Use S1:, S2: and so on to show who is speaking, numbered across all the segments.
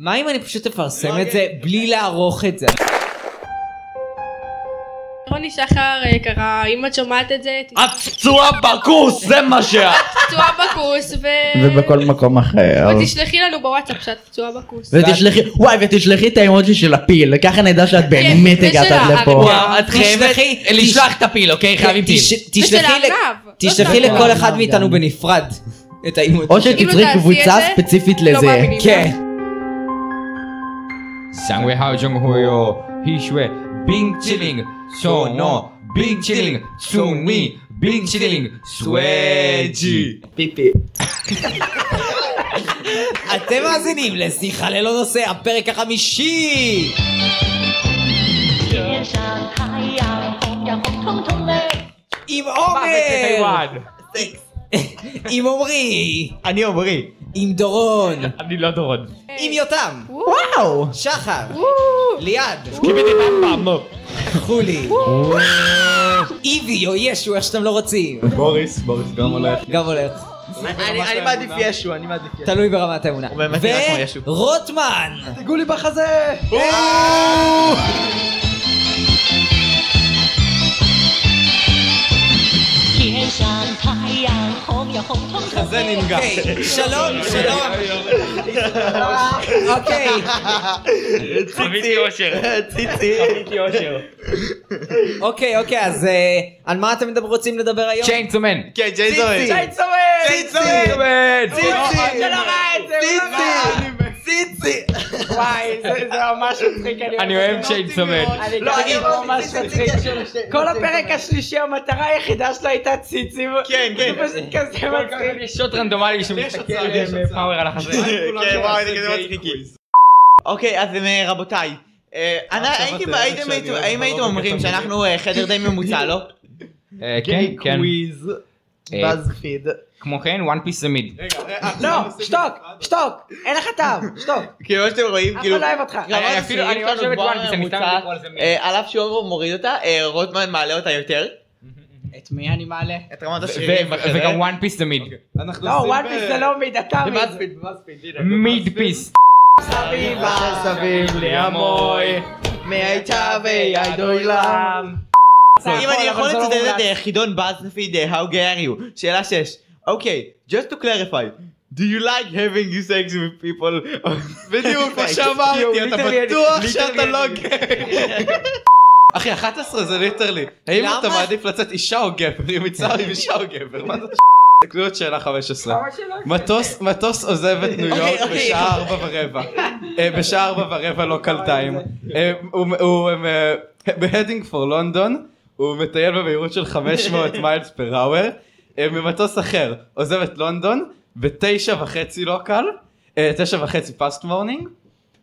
S1: מה אם אני פשוט
S2: לא,
S1: אפרסם את
S2: כן.
S1: זה בלי לערוך את זה?
S3: רוני שחר אה, קרא, אם את שומעת את זה,
S4: את פצועה בקורס, זה מה שאת.
S3: תפצוע בכוס ו...
S5: ובכל מקום אחר.
S3: אה, ותשלחי לנו בוואטסאפ שאת פצועה בכוס.
S5: ותשלחי, וואי, ותשלחי את האמוג'י של הפיל, ככה נדע
S3: כן,
S5: שאת באמת
S3: ושל
S5: הגעת עד לפה.
S3: האריה.
S4: וואו, את חייבת
S1: תשלחי-
S4: לשלוח את הפיל, אוקיי? חייבים פיל.
S1: תש- תשלחי ל-
S3: ושל הארנב.
S1: תשלחי
S3: לא של
S1: לכל
S3: הארנב.
S1: אחד מאיתנו בנפרד את האימות.
S5: או
S3: אם לא
S5: שתצרי
S3: תעשי את
S5: קבוצה
S3: זה,
S5: ספציפית
S3: לא
S5: לזה.
S3: מאמינים.
S1: כן.
S4: 三位好中国哟，必须冰淇淋，手诺冰淇淋，送你冰淇淋，随机。
S5: פיפי.
S1: אתם מאזינים לשיחה ללא נושא, הפרק החמישי!
S6: 天上太阳红呀红彤彤嘞。
S1: עם עומר! עם עמרי!
S2: אני עומרי,
S1: עם דורון!
S2: אני לא דורון.
S3: אה,
S1: עם יותם!
S5: וואו!
S1: שחר! ליעד!
S2: קיבלתי במבם.
S1: חולי! איבי או ישו, איך שאתם לא רוצים!
S2: בוריס, בוריס גם הולך.
S1: גם הולך.
S2: אני מעדיף ישו, אני מעדיף ישו.
S1: תלוי ברמת האמונה.
S2: הוא באמת נראה כמו ישו.
S1: ורוטמן!
S2: תגעו לי בחזה!
S6: 天上太阳红呀红彤彤嘞。
S1: אוקיי, שלום, שלום. אוקיי,
S2: חוויתי אושר. ציצי. חוויתי אושר.
S1: אוקיי, אוקיי, אז אה, על מה אתם מדבר- רוצים לדבר היום?
S4: צ'יינסומן.
S2: כן, ג'ייזון.
S4: ציצי.
S1: לא,
S4: אני אוהב צ'יינסומן.
S7: לא, אני ממש מצחיק. כל הפרק השלישי המטרה היחידה שלו הייתה ציצים. כן, כן. זה פשוט כזה מצחיק.
S4: יש שוט רנדומלי שמסתכל עם אה, פאוור על החזה.
S2: כן, וואו, איזה כזה מצחיקי.
S8: אוקיי, אז אה, רבותיי, אה, אני- הייתם- הייתם- הייתם- האם הייתם אומרים שאנחנו אה, חדר די ממוצע, לא?
S4: אה, כן, כן.
S7: קוויז.
S4: אה,
S7: בזפיד.
S4: כמו כן, וואן פיס זה מיד.
S7: לא, שתוק, שתוק. אין לך טעם, שתוק.
S8: כאילו, מה שאתם רואים,
S7: אף
S8: כאילו,
S7: אחד לא אוהב אותך.
S8: רמת
S4: אני אפילו-
S8: השיאים
S4: אני לא
S8: שלנו
S4: אוהב את
S8: גבוהה
S4: וואן פיס, אני סתם
S8: מהממוצע.
S4: לקרוא לזה מיד.
S8: אה, על אף שעומר מוריד אותה, אה, רוטמן מעלה אותה יותר.
S7: את מי אני מעלה?
S8: את רמת השרירים
S4: ו- וגם וואן פיס זה מיד.
S2: אוקיי.
S7: לא, וואן פיס זה לא מיד, אתה מיד.
S4: מיד פיס.
S7: סביב
S8: אה,
S7: הסביב לי המוי. מהייתה וידוי לעם.
S8: אם
S3: נכון,
S8: אני יכול
S3: לא
S8: לצטט את אה, חידון באזפיד, אה, How gay are you? שאלה 6. אוקיי, just to clarify. Do you like having sex with people?
S2: בדיוק מה שאמרתי, אתה בטוח שאתה לא אחי, 11 זה ליטרלי. האם
S1: למה?
S2: אתה מעדיף לצאת אישה או גבר? אם יצא עם אישה או גבר? מה זה? תסתכלו את שאלה 15. מטוס- מטוס עוזב את ניו יורק בשעה 4 ורבע. אה, בשעה 4 ורבע לא קלטיים. הוא אה, בהדינג פור לונדון, הוא מטייל במהירות של 500 מיילס פר האוור. אה, ממטוס אחר עוזב את לונדון בתשע וחצי לא קל, אה, תשע וחצי פאסט מורנינג.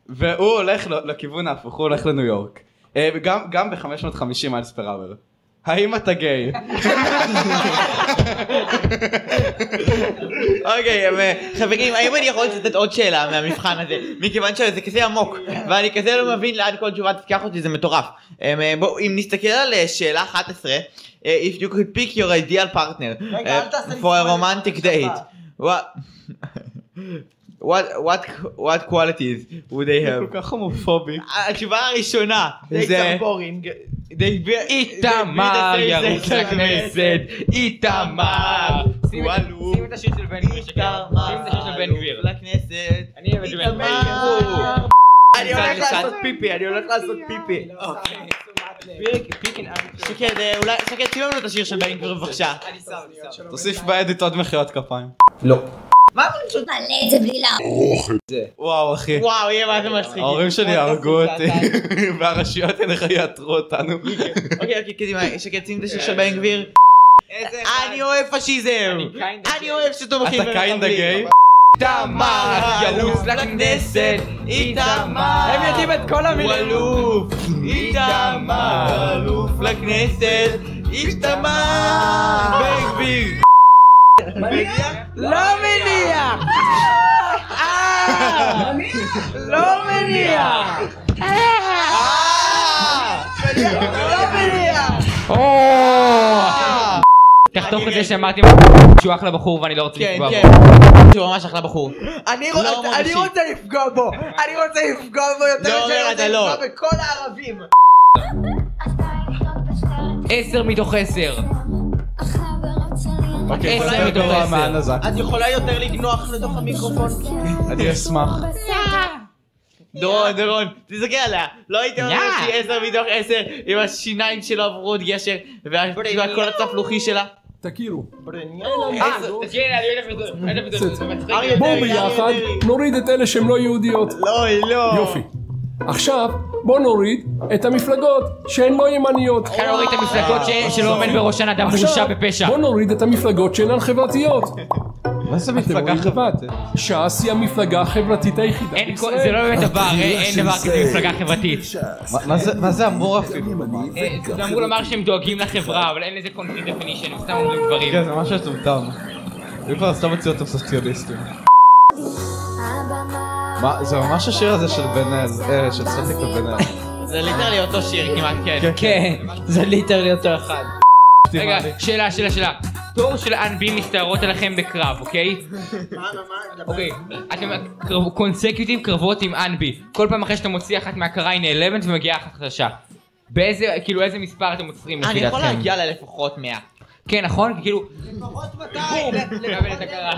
S2: והוא הולך ל- לכיוון ההפוך, הוא הולך לניו יורק. אה, וגם- גם ב-550 מיילס פר אבר. האם אתה גיי?
S8: אוקיי, אה, חברים, האם אני יכול לצטט עוד שאלה מהמבחן הזה? מכיוון שזה כזה עמוק, ואני כזה לא מבין לאן כל תשובה תיקח אותי, זה מטורף. אה, אה, בואו, אם נסתכל על אה, שאלה 11, אה, If you could pick your ideal partner
S7: רגע, אל
S8: אה,
S7: תעשה לי
S8: for a
S7: סימן
S8: romantic
S7: למחשבה.
S8: date, what- what what what qualities would they
S2: כל
S8: have?
S2: כך הומופובי.
S8: התשובה הראשונה זה... They be-
S4: איתמר
S8: they be the same
S4: ירוץ
S8: sex.
S4: לכנסת, איתמר.
S8: שים את- שים
S4: את השיר של בן
S8: איתמר לכנסת.
S4: אני אוהב את בן גביר.
S8: איתמר. אני הולך לעשות
S7: פיפי, אני הולך לעשות פיפי.
S8: אוקיי. שקד, אה, אולי, שקד, תראו לנו את השיר של בן גביר בבקשה.
S2: תוסיף באדיט עוד מחיאות כפיים. וואו אחי,
S8: וואו, יהיה מה זה מצחיק.
S7: אוקיי.
S2: ההורים שלי יהרגו אותי, והרשויות האלה יעתרו אותנו.
S8: אוקיי, אוקיי, קדימה, שקד, שים את השיר של בן גביר. אני אוהב פשיזם! אני אוהב שתומכים
S2: אתה קיינדה גיי?
S4: איתמר ירוץ לכנסת, איתמר.
S7: הם יודעים את כל המילים.
S8: אלוף! איתמר! אלוף לכנסת! איתמר! בן גביר!
S7: לא מניח! אה, לא מניח!
S8: אה!
S7: אה! לא מניח!
S4: או! ככה תוך כדי שאמרתי שהוא אחלה בחור ואני לא רוצה
S8: כן,
S4: לפגוע
S8: כן.
S4: בו.
S8: שהוא ממש אחלה בחור.
S7: אני רוצ-
S8: לא
S7: אני
S8: מרשים.
S7: רוצה לפגוע בו, אני רוצה לפגוע בו יותר
S8: לא,
S7: שאני
S8: אומר,
S7: רוצה
S8: אתה לא.
S7: לפגוע בכל הערבים.
S4: עשר מתוך עשר.
S8: כן,
S2: אוקיי,
S4: עשר
S2: בסדר,
S4: מתוך
S2: דורה,
S4: עשר.
S2: מען הזק.
S8: את יכולה יותר לגנוח לתוך המיקרופון?
S2: אני אשמח.
S8: דורון, דורון, תסתכל עליה. לא הייתי אומר שהיא עשר מתוך עשר עם השיניים שלא עברו עוד גשר והקול הצפלוחי שלה. אה,
S9: תכירו.
S4: כן, לא
S8: אריה
S9: בואו
S8: דרעי, אריה
S9: ביחד
S8: דרעי.
S9: נוריד את אלה שהן לא יהודיות.
S8: לא, היא לא.
S9: יופי. עכשיו בואו נוריד את המפלגות שהן לא ימניות.
S4: כאן הוריד את המפלגות
S8: אה,
S4: ש- שלא עומד בראשן אדם מורשע בפשע.
S9: בואו נוריד את המפלגות שאינן חברתיות.
S2: מה זה
S9: אתם
S2: מפלגה
S9: רואים לבד.
S2: חברתית?
S9: ש"ס היא המפלגה החברתית היחידה
S4: אין כל-
S9: בישראל.
S4: זה לא באמת דבר, אין אין דבר כזה מפלגה חברתית.
S2: מה- מה זה- מה זה אמור אפילו?
S4: אה, זה אמור לומר שהם דואגים לחברה, אבל אין לזה קונקרט דפנישן, הם סתם אומרים דברים.
S2: כן, זה ממש מטומטם. אם כבר סתם מוציא אותם סוציאליסטים. מה, זה ממש השיר הזה של בן אל, אה, של סטטיק ובן אל.
S8: זה ליטרלי אותו שיר כמעט, כן.
S1: כן, זה ליטרלי אותו אחד.
S4: רגע, שאלה, שאלה, שאלה. תור של אנבים מסתערות עליכם בקרב, אוקיי? אוקיי, אתם קרב- קונסקיוטיב קרבות עם אנבי. כל פעם אחרי שאתה מוציא אחת מהקרה היא נעלמת ומגיעה אחת חדשה. באיזה, כאילו איזה מספר אתם עוצרים לפי
S8: אני
S4: דעתכם?
S8: יכול להגיע לה לפחות מאה.
S4: כן, נכון? כי כאילו... לקבל את
S7: לפחות
S4: הקרה.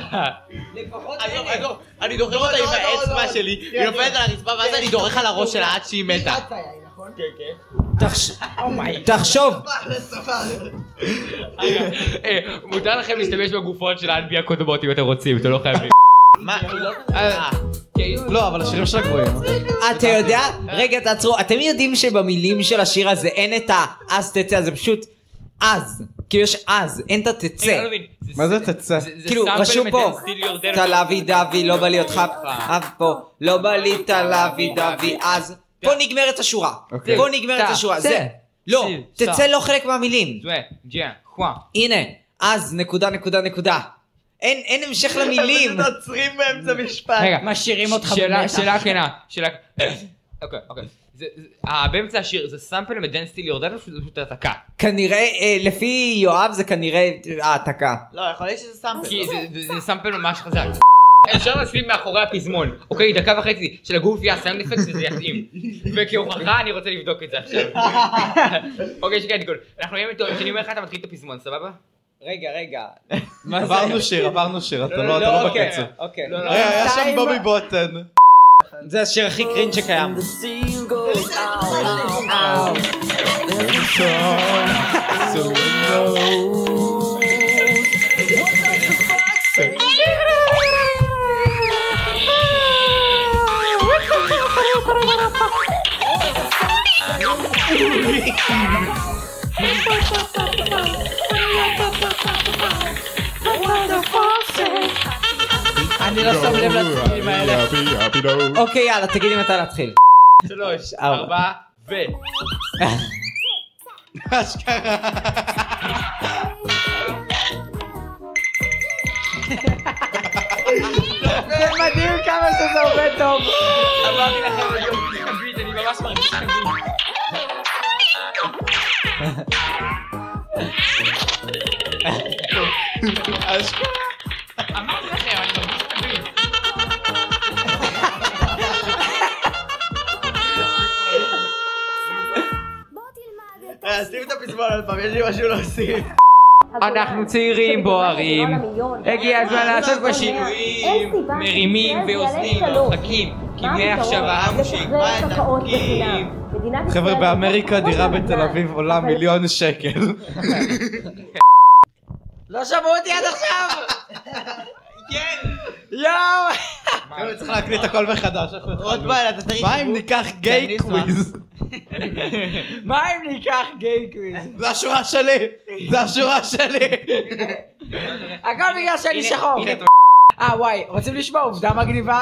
S8: עזוב, עזוב, אני דוחף אותה עם האצבע שלי, היא נופלת על הרצפה ואז אני דורך על הראש שלה עד שהיא מתה.
S1: תחש- תחשוב,
S4: אה, מותר לכם להשתמש בגופות של האנבי הקודמות אם אתם רוצים, אתם לא חייבים.
S8: מה, היא לא...
S4: אה, אוקיי,
S2: לא, אבל השירים שלה גבוהים.
S1: אתה יודע, רגע תעצרו, אתם יודעים שבמילים של השיר הזה אין את ה"אז תצא", זה פשוט אז, כאילו יש אז, אין את
S4: אני
S1: התצא.
S4: לא מבין.
S2: מה זה תצא?
S1: כאילו, רשום פה, תלאבי דבי, לא בא לי אותך אף פה, לא בא לי תלאבי דבי, אז, פה נגמרת השורה,
S2: אוקיי.
S1: פה נגמרת
S4: ת-
S1: השורה,
S4: צא.
S1: זה, לא,
S4: צא.
S1: תצא לא חלק מהמילים, הנה, אז, נקודה, נקודה, נקודה. אין, אין המשך למילים.
S8: עוצרים באמצע משפט.
S7: אה,
S4: רגע,
S1: משאירים אותך
S4: שאלה,
S1: במתח.
S4: שאלה כנה, שאלה... אוקיי, אוקיי. זה- זה- אה, באמצע השיר זה סאמפל מדנסטיל יורדן או שזה פשוט העתקה?
S1: כנראה, אה, לפי יואב זה כנראה אה, העתקה.
S8: לא, יכול להיות שזה סאמפל.
S4: כי זה- זה- זה סאמפל ממש חזק. אפשר לשים מאחורי הפזמון, אוקיי, דקה וחצי של הגוף יעשה סאונד אפקט שזה יתאים. וכהוכחה אני רוצה לבדוק את זה עכשיו. אוקיי, שכן, גול. אנחנו נהיה מתואמים, כשאני אומר לך אתה מתחיל את הפזמון, סבבה?
S1: רגע, רגע.
S2: עברנו שיר, עברנו שיר, אתה
S4: לא,
S2: לא
S4: לא,
S2: אתה לא
S4: אוקיי.
S2: בקצב.
S1: אוקיי.
S4: לא, לא.
S2: אה, היה שם בובי בוטן.
S1: זה השיר הכי קרין שקיים.
S7: אני לא שם לב לצדדים האלה.
S1: אוקיי, יאללה, תגידי מתי להתחיל.
S4: שלוש, ארבע, ו...
S7: זה מדהים כמה שזה עובד טוב.
S4: אמרתי לכם, אני חבית, אני ממש מרגיש חבית. אמרתי לכם, אני מרגיש חבית.
S8: אה, שים את הפזמון עוד פעם, יש לי משהו להוסיף.
S4: אנחנו צעירים בוערים, הגיע הזמן לעשות פה שינויים, מרימים ויוזמים, מרחקים, כמי עכשיו
S8: מושיק, מה אתה חוקים?
S2: חבר'ה, באמריקה דירה בתל אביב עולה מיליון שקל.
S7: לא שמעו אותי עד עכשיו! כן! יואו!
S2: חבר'ה, צריך להקליט הכל מחדש. אנחנו התחלנו.
S8: עוד בעיה, אתה צריך...
S2: מה אם ניקח גיי
S8: כן,
S2: קוויז?
S7: מה אם ניקח גיי קוויז?
S2: זה השורה שלי! זה השורה שלי!
S7: הכל בגלל שאני שחור. אה וואי, רוצים לשמוע עובדה מגניבה?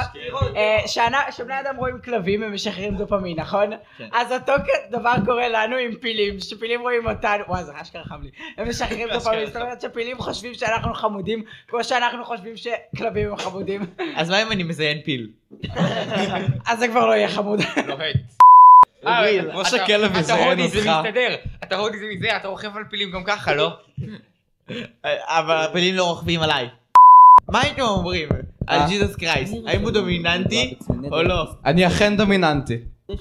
S7: אה, שאנ- שבני אדם רואים כלבים הם משחררים דופמין, נכון? אז אותו כ- דבר קורה לנו עם פילים, שפילים רואים אותנו, וואי זה אשכרה חם לי, הם משחררים דופמין, זאת אומרת שפילים חושבים שאנחנו חמודים, כמו שאנחנו חושבים שכלבים הם חמודים,
S8: אז מה אם אני מזיין פיל?
S7: אז זה כבר לא יהיה חמוד.
S4: לוהט.
S2: ריל, כמו שכלב יזיין
S4: אה, אתה הודי זה
S2: אותך.
S4: מסתדר, אתה הודי זה מזה, אתה רוכב על פילים גם ככה, לא?
S8: אבל הפנים לא רוכבים עליי. מה הייתם אומרים על
S2: אה?
S8: ג'יזוס קרייסט? האם הוא דומיננטי או לא?
S2: אני אכן דומיננטי.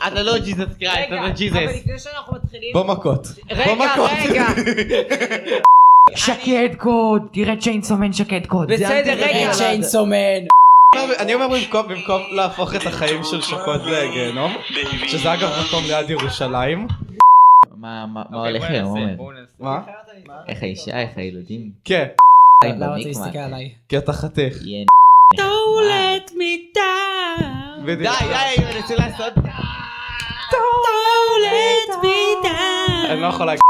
S8: אתה לא ג'יזוס קרייסט,
S7: רגע,
S8: אתה
S7: אבל
S8: ג'יזוס.
S7: לפני שאנחנו מתחילים...
S2: בוא מכות.
S7: רגע,
S2: בוא מכות.
S7: רגע.
S4: שקד קוד, תראה צ'יינסומן שקד קוד.
S7: בסדר, רגע. צ'יינסומן.
S2: אני אומר במקום, במקום להפוך את החיים של שוקות לגיהנום, שזה אגב מקום ליד ירושלים,
S8: מה מה- מה
S4: אוקיי,
S8: הולך היום, עומר?
S2: מה?
S8: איך האישה, איך הילדים?
S2: כן,
S8: חיים
S7: למה אתה
S8: במקווה.
S7: מסתכל עליי?
S2: כי אתה חתיך.
S8: יהיה
S3: Don't let me down.
S8: די,
S2: בדיוק.
S8: די, אני רוצה לעשות...
S3: Don't let me down.
S2: אני לא יכול להגיד.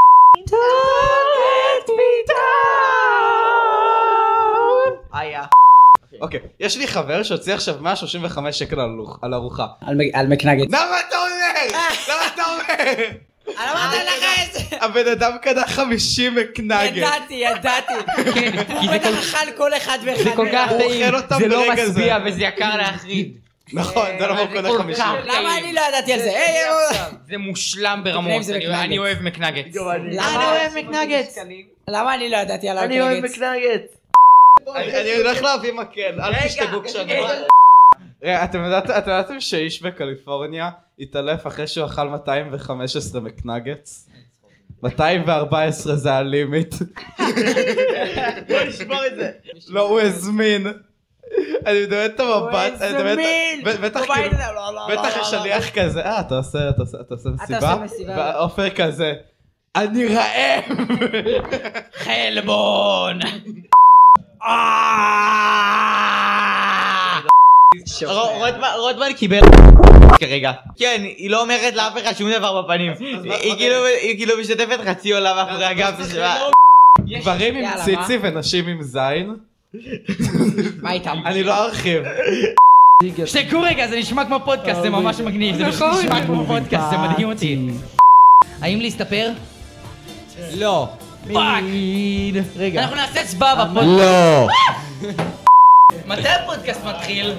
S8: איה.
S2: אוקיי, יש לי חבר שהוציא עכשיו 135 שקל על הלוך- על ארוחה.
S7: על מקנגד.
S2: למה אתה אומר? למה אתה אומר? הבן אדם קנה 50 מקנגל.
S7: ידעתי, ידעתי. הוא בטח אכל כל אחד ואחד.
S4: זה כל כך
S2: הוא
S4: טעים,
S2: אוכל אותם
S4: זה לא
S2: ברגע
S4: משביע
S2: זה.
S4: וזה יקר להחריד.
S2: נכון, זה לא
S4: זה
S2: מקום
S4: כל
S2: 50.
S4: כך.
S7: למה אני לא ידעתי על זה? היי, אה,
S4: זה מושלם
S7: לפני
S4: ברמות,
S7: אם זה
S4: אני-
S7: מקנגט.
S4: אני אוהב מקנגט.
S7: למה אוהב מקנגט? למה אני לא ידעתי על
S8: אני אוהב
S7: המקנגט?
S8: מקנגט.
S2: אני אני הולך להביא מקל, אל תשתגעו כשאני... רגע, אה, אתם יודעת- אתם ידעתם שאיש בקליפורניה התעלף אחרי שהוא אכל 215 מקנגטס? 214 זה הלימיט.
S8: בוא נשבור את זה.
S2: לא, הוא הזמין. אני מדמיין את המבט, אני מדמיין את... ב- בטח כאילו... בטח יש שליח כזה, אה, אתה עושה, אתה עושה, אתה עושה מסיבה?
S7: עושה מסיבה.
S2: ועופר כזה, אני רעב!
S8: חלבון.
S5: אה!
S8: ר- רוטמן- רוטמן קיבל כרגע. כן, היא לא אומרת לאף אחד שום דבר בפנים.
S2: מה-
S8: היא
S2: מה
S8: כאילו-
S2: כן?
S8: היא כאילו משתפת חצי עולם מאחורי הגב שלה.
S2: גברים עם
S7: יאללה,
S2: ציצי ונשים עם זין?
S7: מה איתם?
S2: אני לא ארחיב.
S4: שתקו רגע, זה נשמע כמו פודקאסט, זה ממש מגניב. זה פשוט
S2: נכון.
S4: נשמע כמו פודקאסט, זה מדהים אותי. האם להסתפר?
S1: לא.
S4: פאק! רגע. אנחנו נעשה הצבעה בפודקאסט.
S5: לא.
S4: מתי הפודקאסט מתחיל?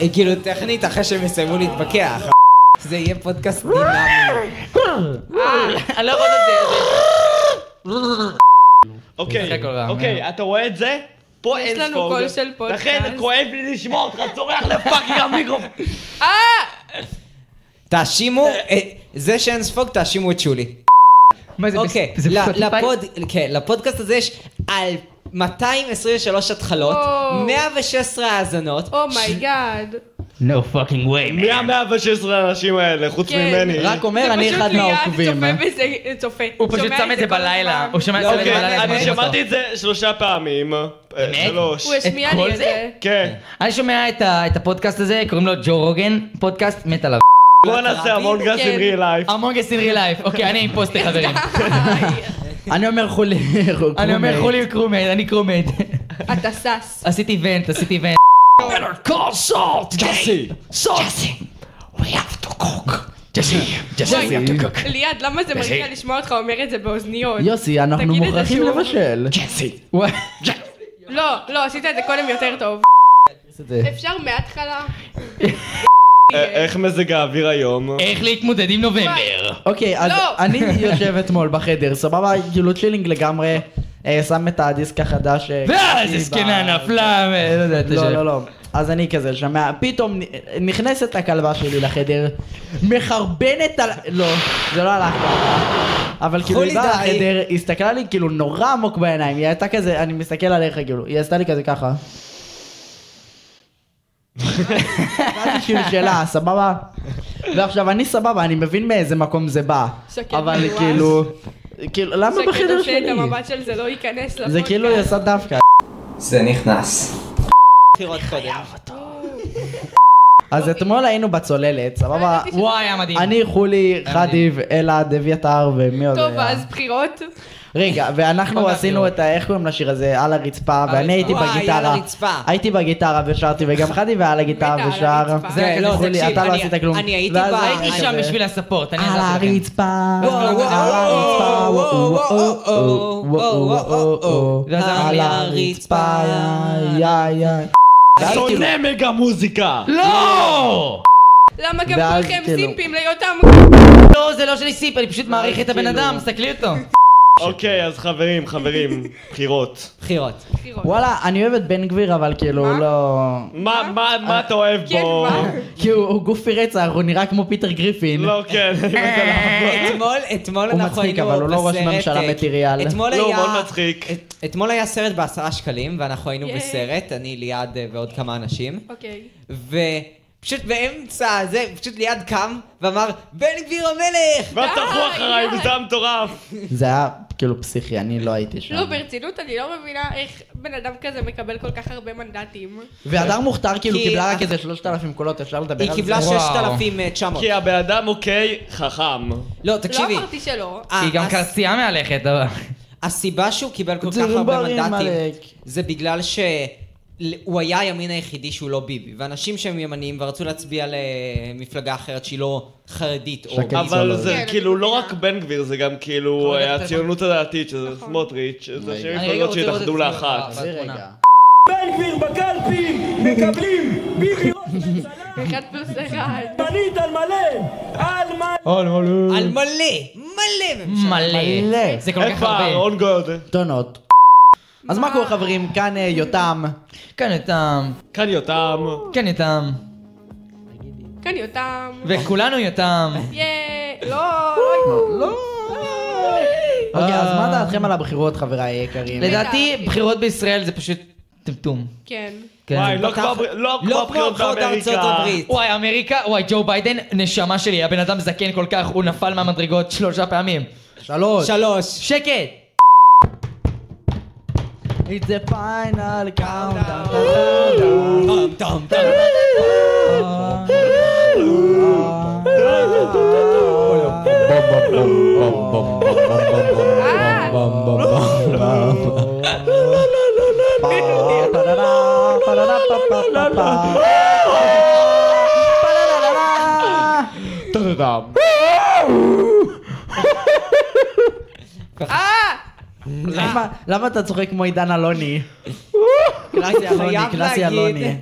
S1: אה, כאילו, טכנית, אחרי שהם יסיימו להתווכח. זה יהיה פודקאסט דינמי.
S4: אני לא יכול לעשות את
S10: אוקיי,
S4: משחק עולם,
S10: אוקיי, אתה רואה את זה? פה
S3: יש
S10: אין
S3: לנו
S10: ספוג.
S3: קול של פודקאסט.
S10: לכן כואב לי לשמוע אותך צורח לפאקינג המיקרופון.
S1: תאשימו, אה, זה שאין ספוג, תאשימו את שולי.
S4: מה זה?
S1: אוקיי,
S4: זה
S1: ל-
S4: בספוטיפיי?
S1: לפוד- כן, לפודקאסט הזה יש על 223 התחלות,
S3: או.
S1: 116 האזנות.
S4: אוקיי,
S3: Oh אומייגאד.
S4: No fucking way.
S10: מי ה-116 האנשים האלה, חוץ
S3: כן.
S10: ממני?
S5: רק אומר, אני אחד מהעוקבים.
S3: הוא פשוט ליד צופה בזה, צופה.
S4: הוא פשוט
S3: שומע
S4: שם את זה
S3: כל
S4: בלילה.
S3: הזמן.
S4: הוא שומע את
S1: לא
S4: זה בלילה.
S10: אוקיי,
S4: זה
S10: אני
S4: מדהים אותו.
S10: שמעתי את זה שלושה פעמים. אה,
S4: באמת?
S10: שלוש.
S3: הוא השמיע
S4: את כל
S3: לי את
S4: זה?
S3: זה.
S10: כן.
S4: אני שומע את ה- את הפודקאסט הזה, קוראים לו ג'ו רוגן, פודקאסט מת עליו.
S10: בוא נעשה המון גס
S3: כן.
S10: עם ריל לייף.
S4: המונגס אין רי לייף. אוקיי, אני אימפוסטר חברים.
S5: אני אומר חולי.
S4: אני אומר חולי קרומד, אני קרומד.
S3: אתה שש.
S4: עשיתי איבנט, עשיתי איבנט.
S3: וואי, ליעד, למה זה מרגיע לשמוע אותך אומר את זה באוזניות?
S5: יוסי, אנחנו
S3: תגיד את זה
S5: מוכרחים
S3: שוב.
S5: לבשל.
S4: וואי.
S3: לא, לא, עשית את זה קודם יותר טוב. אפשר מההתחלה?
S10: אה, איך מזג האוויר היום?
S4: איך להתמודד עם נובמבר.
S5: אוקיי, אז
S3: לא.
S5: אני יושב אתמול בחדר, סבבה, כאילו צ'ילינג לגמרי, אה, שם את הדיסק החדש. אה,
S4: ואז
S5: ב-
S4: הזקנה נפלה, ו- לא יודעת.
S5: לא, לא, לא. אז אני כזה שומע, פתאום נ- נכנסת הכלבה שלי לחדר, מחרבנת על... לא, זה לא הלך ככה. אבל כאילו היא
S1: חולי
S5: באה
S1: די.
S5: לחדר, היא הסתכלה לי כאילו נורא עמוק בעיניים, היא הייתה כזה, אני מסתכל עליך כאילו, היא עשתה לי כזה ככה. שאלתי כאילו שאלה, סבבה? ועכשיו אני סבבה, אני מבין מאיזה מקום זה בא.
S3: שקט
S5: אבל
S3: מיואש.
S5: כאילו, כאילו, למה בחדר
S3: שאת
S5: שלי?
S3: המבט של זה לא ייכנס לפודקאסט.
S5: זה כאילו היא עושה דווקא.
S1: זה נכנס. לא. בחירות קודם.
S5: אז אתמול היינו בצוללת, סבבה?
S3: ידעתי
S4: וואי, היה מדהים.
S5: אני, חולי, חדיב, אלעד, אביתר ומי עוד
S3: טוב,
S5: היה?
S3: אז בחירות.
S5: רגע, ואנחנו
S4: עוד
S5: עשינו
S4: מהבחירות.
S5: את ה... איך קוראים לשיר הזה? על הרצפה, ואני הייתי
S1: וואי, על
S5: בגיטרה.
S1: הרצפה.
S5: הייתי בגיטרה ושרתי, וגם חדיב היה על הגיטרה
S3: מתה על
S5: ושר.
S3: הרצפה.
S4: זה היה
S1: כן,
S4: כזה
S1: לא,
S5: חולי,
S1: תקשיב,
S5: אתה לא
S1: אני-
S5: עשית כלום.
S1: אני הייתי
S5: ואז
S1: ב-
S4: הייתי
S5: כזה,
S4: שם בשביל הספורט, אני
S5: על
S4: עזרתי לכם.
S5: הרצפה,
S1: וואו,
S5: על
S1: וואו,
S5: הרצפה,
S1: וואו,
S5: וואו,
S1: וואו,
S5: וואו,
S1: וואו, וואו,
S5: וואו, וואו,
S1: ואז אמר
S5: על
S1: לי,
S5: הרצפה,
S1: הרצפה.
S5: יא יא. ואז כאילו-
S10: שונא מגה מוזיקה!
S4: לא!
S3: למה גם
S5: ואז
S3: כולכם
S5: כאילו-
S3: סימפים ליותם?
S4: לא, זה לא שלי סיפ, אני פשוט מעריך את הבן אדם, תסתכלי אותו. אוקיי, אז חברים, חברים, בחירות.
S5: בחירות. וואלה, אני אוהב את בן גביר, אבל כאילו, הוא לא...
S4: מה, מה, מה אתה אוהב
S3: כן,
S4: בו?
S5: כי הוא הוא גופי רצח, הוא נראה כמו פיטר גריפין.
S4: לא,
S10: אוקיי,
S4: כן.
S1: אתמול, אתמול
S5: כן. הוא
S1: אנחנו
S5: מצחיק,
S1: היינו
S5: אבל הוא לא ראש
S1: בסרט,
S5: ממשלה
S1: אה,
S5: מטריאל.
S1: אתמול
S4: לא,
S1: היה...
S4: הוא מאוד מצחיק.
S1: את- אתמול היה סרט בעשרה שקלים, ואנחנו היינו בסרט, אני ליעד אה, ועוד כמה אנשים.
S3: אוקיי.
S1: ופשוט באמצע זה, פשוט ליעד קם ואמר, בן גביר המלך!
S4: ואז תחו
S3: די,
S4: אחריי,
S3: די.
S4: וזה היה מטורף.
S5: זה היה כאילו פסיכי, אני לא הייתי שם.
S3: לא, ברצינות, אני לא מבינה איך בן אדם כזה מקבל כל כך הרבה מנדטים. לא
S5: והדר מוכתר כאילו
S1: כי-
S5: קיבלה רק איזה 3,000 קולות, אפשר לדבר על
S1: היא
S5: זה?
S1: קיבלה
S10: וואו.
S1: 6,900.
S4: כי הבן אדם, אוקיי, חכם.
S1: לא,
S3: לא
S1: תקשיבי.
S3: אמרתי שלא.
S1: ה-
S10: היא גם
S1: הס-
S10: קרצייה מהלכת, אבל...
S1: הסיבה שהוא קיבל כל כך הרבה
S5: צ'רומברים,
S1: מנדטים
S5: עלק.
S1: זה בגלל שהוא היה הימין היחידי שהוא לא ביבי. ואנשים שהם ימניים ורצו להצביע למפלגה אחרת שהיא לא חרדית או...
S5: שקד. כן, זה
S4: אבל
S5: לא-
S4: זה
S3: כן,
S4: כאילו
S3: אני
S4: לא רק
S3: מבינה.
S4: בן גביר, זה גם כאילו אה, הציונות הדתית, שזה
S3: נכון.
S4: סמוטריץ', זה שתי מפלגות שהתאחדו לאחת.
S5: זה רגע.
S11: בן גביר בקלפי מקבלים ביבי ראש ממשלה
S3: אחד פלוס אחד.
S11: מנית על מלא על מלא
S1: על מלא, מלא ממשלה.
S10: מלא. זה כל כך
S4: איפה
S10: הרבה.
S4: אהרון גולד?
S5: טונות. אז מה קורה חברים? כאן אה, יותם.
S12: כאן יותם,
S4: כאן יותם.
S12: כאן יותם,
S3: כאן יותם.
S12: וכולנו יותם.
S3: ייי. לא, לא.
S5: לא. אוקיי, אז מה דעתכם על הבחירות חבריי היקרים?
S12: לדעתי, בחירות בישראל זה פשוט טמטום.
S3: כן.
S12: כן.
S4: וואי, לא
S1: פתח-
S4: כמו הבר- לא כמו
S1: לא
S4: הבחירות
S1: הבחירות בארצות
S4: באמריקה.
S1: הברית.
S12: וואי, אמריקה, וואי, ג'ו ביידן, נשמה שלי, הבן אדם זקן כל כך, הוא נפל מהמדרגות שלושה פעמים.
S5: שלוש.
S1: שלוש.
S12: שקט!
S5: It's the final countdown.
S1: טם, טם, טם.
S12: לא.
S3: אה, אה.
S5: למה- למה אתה צוחק כמו עידן אלוני? קלאסי אלוני,
S1: חייב
S5: קלאסי אלוני.
S1: להגיד,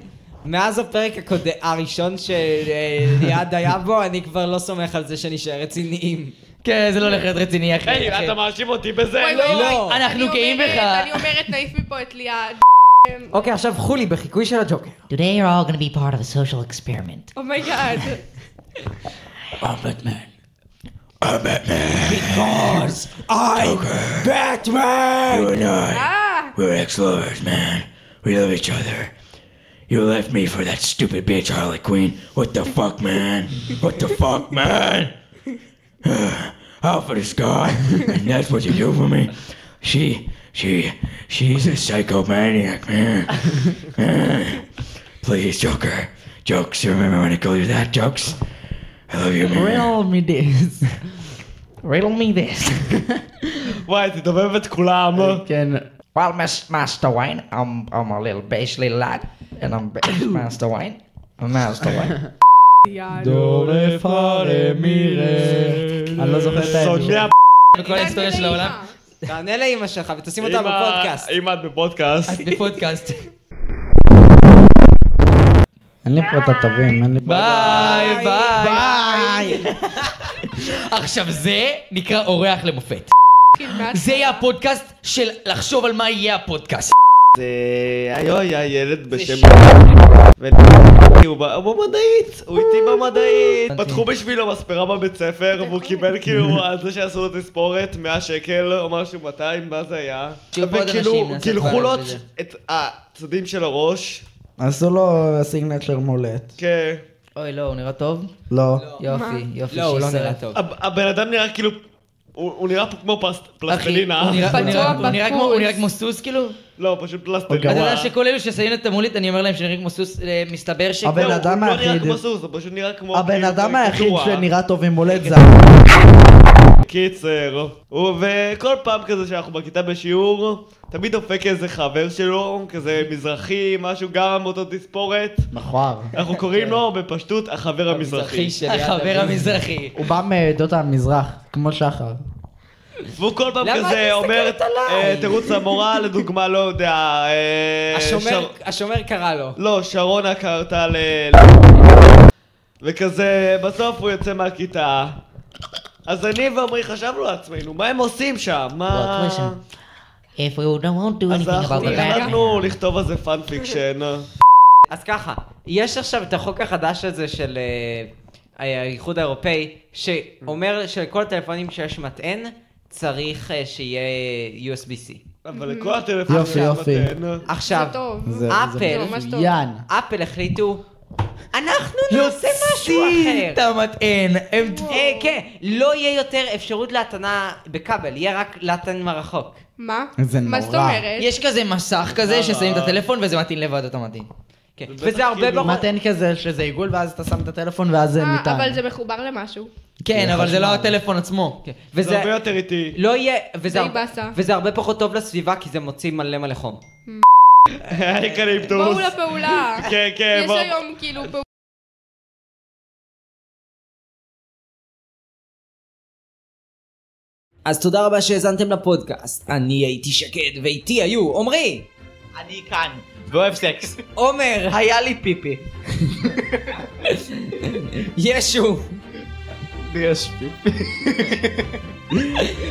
S1: מאז הפרק הקוד- הראשון שליעד היה בו, אני כבר לא סומך על זה שנשאר רציניים.
S12: כן, זה לא הולך להיות רציני, אחי.
S4: היי, אתה מאשים אותי בזה?
S3: וואי,
S4: לא.
S3: וואי,
S1: לא.
S3: וואי.
S12: אנחנו
S3: אני
S12: גאים
S3: אומרת,
S12: בך.
S3: אני אומרת, נעיף מפה את ליעד.
S1: אוקיי, עכשיו חולי בחיקוי של הג'וקר.
S6: Today you're all gonna be part of a social experiment.
S3: Oh אומייגאד. אה,
S13: We're ex-lovers, man. We love each other. You left me for that stupid bitch Harley Quinn. What the fuck, man? What the fuck, man? Out for this guy, and that's what you do for me. She, she, she's a psychomaniac, man. man. Please, Joker, jokes. You remember when I called you that, jokes? I love you, man.
S5: Riddle me this. Riddle me this.
S4: וואי, תדובב את כולם.
S5: כן.
S13: Well, Miss Master Wayne, I'm I'm a little basely lad, and I'm Master Wayne. Master Wayne.
S3: ליעד.
S5: אני לא זוכר את האמת.
S4: סוניה
S12: בכל ההיסטוריה של העולם.
S1: תענה לאימא שלך ותשים אותה
S4: אם ה-
S1: בפודקאסט.
S4: אם את בפודקאסט.
S12: אז בפודקאסט.
S5: אין לי פה את הטובים, אין לי פה.
S12: ביי, ביי. עכשיו זה נקרא אורח למופת.
S3: כן,
S12: זה יהיה הפודקאסט של לחשוב על מה יהיה הפודקאסט.
S4: היום היה ילד בשם... הוא ב- הוא במדעית, הוא איתי במדעית. פתחו בשבילו מספרה בבית ספר, והוא קיבל כאילו על זה שעשו לו תספורת 100 שקל או משהו 200, מה זה היה?
S12: שיהיו פה עוד
S4: וכאילו,
S12: אנשים,
S13: כאילו
S12: נעשה
S4: גילחו
S12: כבר
S4: לו
S12: בזה.
S4: את הצדדים של הראש,
S5: עשו לו סיגנצ'ר מולט.
S4: כן.
S12: אוי, לא, הוא נראה טוב?
S5: לא.
S12: יופי, יופי,
S1: לא, הוא לא
S12: שישראל.
S1: נראה טוב.
S4: הב- הבן אדם נראה כאילו... הוא הוא נראה פה כמו פלס-
S12: אחי,
S4: פלסטלינה.
S12: הוא נראה- הוא
S3: פצוע
S12: נראה- הוא נראה כמו- הוא נראה
S3: בקורס.
S12: כמו סוס כאילו?
S4: לא, פשוט פלסטלינה.
S12: אתה יודע
S5: וואו.
S12: שכל אלו ששמים את המולית, אני אומר להם שנראה כמו סוס, אה, מסתבר ש...
S5: אבל- הבן
S4: לא,
S5: אדם
S4: הוא לא נראה
S5: היחיד-
S4: כמו סוס, הוא פשוט נראה כמו...
S5: הבן
S4: כאילו
S5: אדם היחיד
S4: קריקטורה.
S5: שנראה טוב עם
S12: כן.
S5: מולט זה...
S4: קיצר, הוא- וכל פעם כזה שאנחנו בכיתה בשיעור, תמיד דופק איזה חבר שלו, כזה מזרחי, משהו, גם אותו תספורת.
S5: מכוער.
S4: אנחנו
S8: כן.
S4: קוראים לו בפשטות החבר המזרחי.
S12: החבר
S1: אה,
S12: המזרחי.
S5: הוא בא מעדות המזרח, כמו שחר.
S4: והוא כל פעם
S1: למה את
S4: כזה אומר,
S1: מסתכלת עליי?
S4: אה, תירוץ המורה, לדוגמה, לא יודע, אה, שר-
S1: השומר- השומר קרא לו.
S4: לא, שרונה קרתה ל... וכזה, בסוף הוא יוצא מהכיתה,
S10: אז אני ועמרי חשבנו לעצמנו, מה הם עושים שם? מה...
S14: If we don't want to do
S10: אז
S14: anything
S10: אנחנו
S14: about the bad
S10: החלטנו לכתוב על זה פאנפיקשן.
S1: אז ככה, יש עכשיו את החוק החדש הזה של אה, האיחוד האירופאי, שאומר שלכל הטלפונים שיש מטען, צריך אה, שיהיה אה, USB-C.
S10: אבל
S3: Mhm.
S10: לכל הטלפונים
S5: יופי,
S10: יש
S5: יופי.
S10: מטען.
S1: עכשיו,
S10: זה טוב.
S5: זה- זה
S1: אפל,
S3: לא,
S5: ממש טוב. מצוין.
S1: אפל החליטו, אנחנו
S12: לא
S1: נעשה משהו אחר.
S14: את המטען. הם-
S1: אה, כן, לא יהיה יותר אפשרות להטענה בכבל, יהיה רק להטען מרחוק.
S3: מה?
S14: זה
S3: מה זאת נורא. אומרת?
S14: יש כזה מסך
S4: לא,
S14: כזה ששמים את הטלפון וזה מטעין לבד אוטומטי.
S1: כן, וזה הרבה
S14: כאילו-
S1: בראש.
S5: מתן כזה שזה עיגול ואז אתה שם את הטלפון ואז זה
S3: אה,
S5: ניתן.
S3: אבל זה מחובר למשהו.
S14: כן, אבל זה לא הטלפון עצמו.
S1: כן, וזה-
S10: הרבה יותר איטי.
S1: לא יהיה, וזה,
S3: די באסה.
S1: וזה הרבה פחות טוב לסביבה, כי זה מוציא מלא מלא חום.
S3: בואו לפעולה.
S10: כן, כן,
S3: יש
S10: בואו.
S3: היום כאילו פעולה.
S1: אז תודה רבה שהאזנתם לפודקאסט. אני הייתי שקד, ואיתי היו עמרי,
S8: אני כאן, ואוהב סקס.
S1: עומר.
S8: היה לי פיפי.
S1: ישו.
S2: יש פיפי.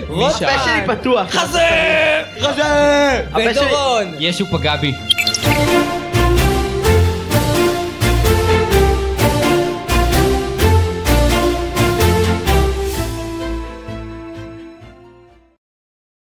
S1: רוטמן.
S4: הפה שלי
S8: פתוח.
S1: חזה!
S8: חזה!
S1: ודורון.
S4: ישו פגע בי.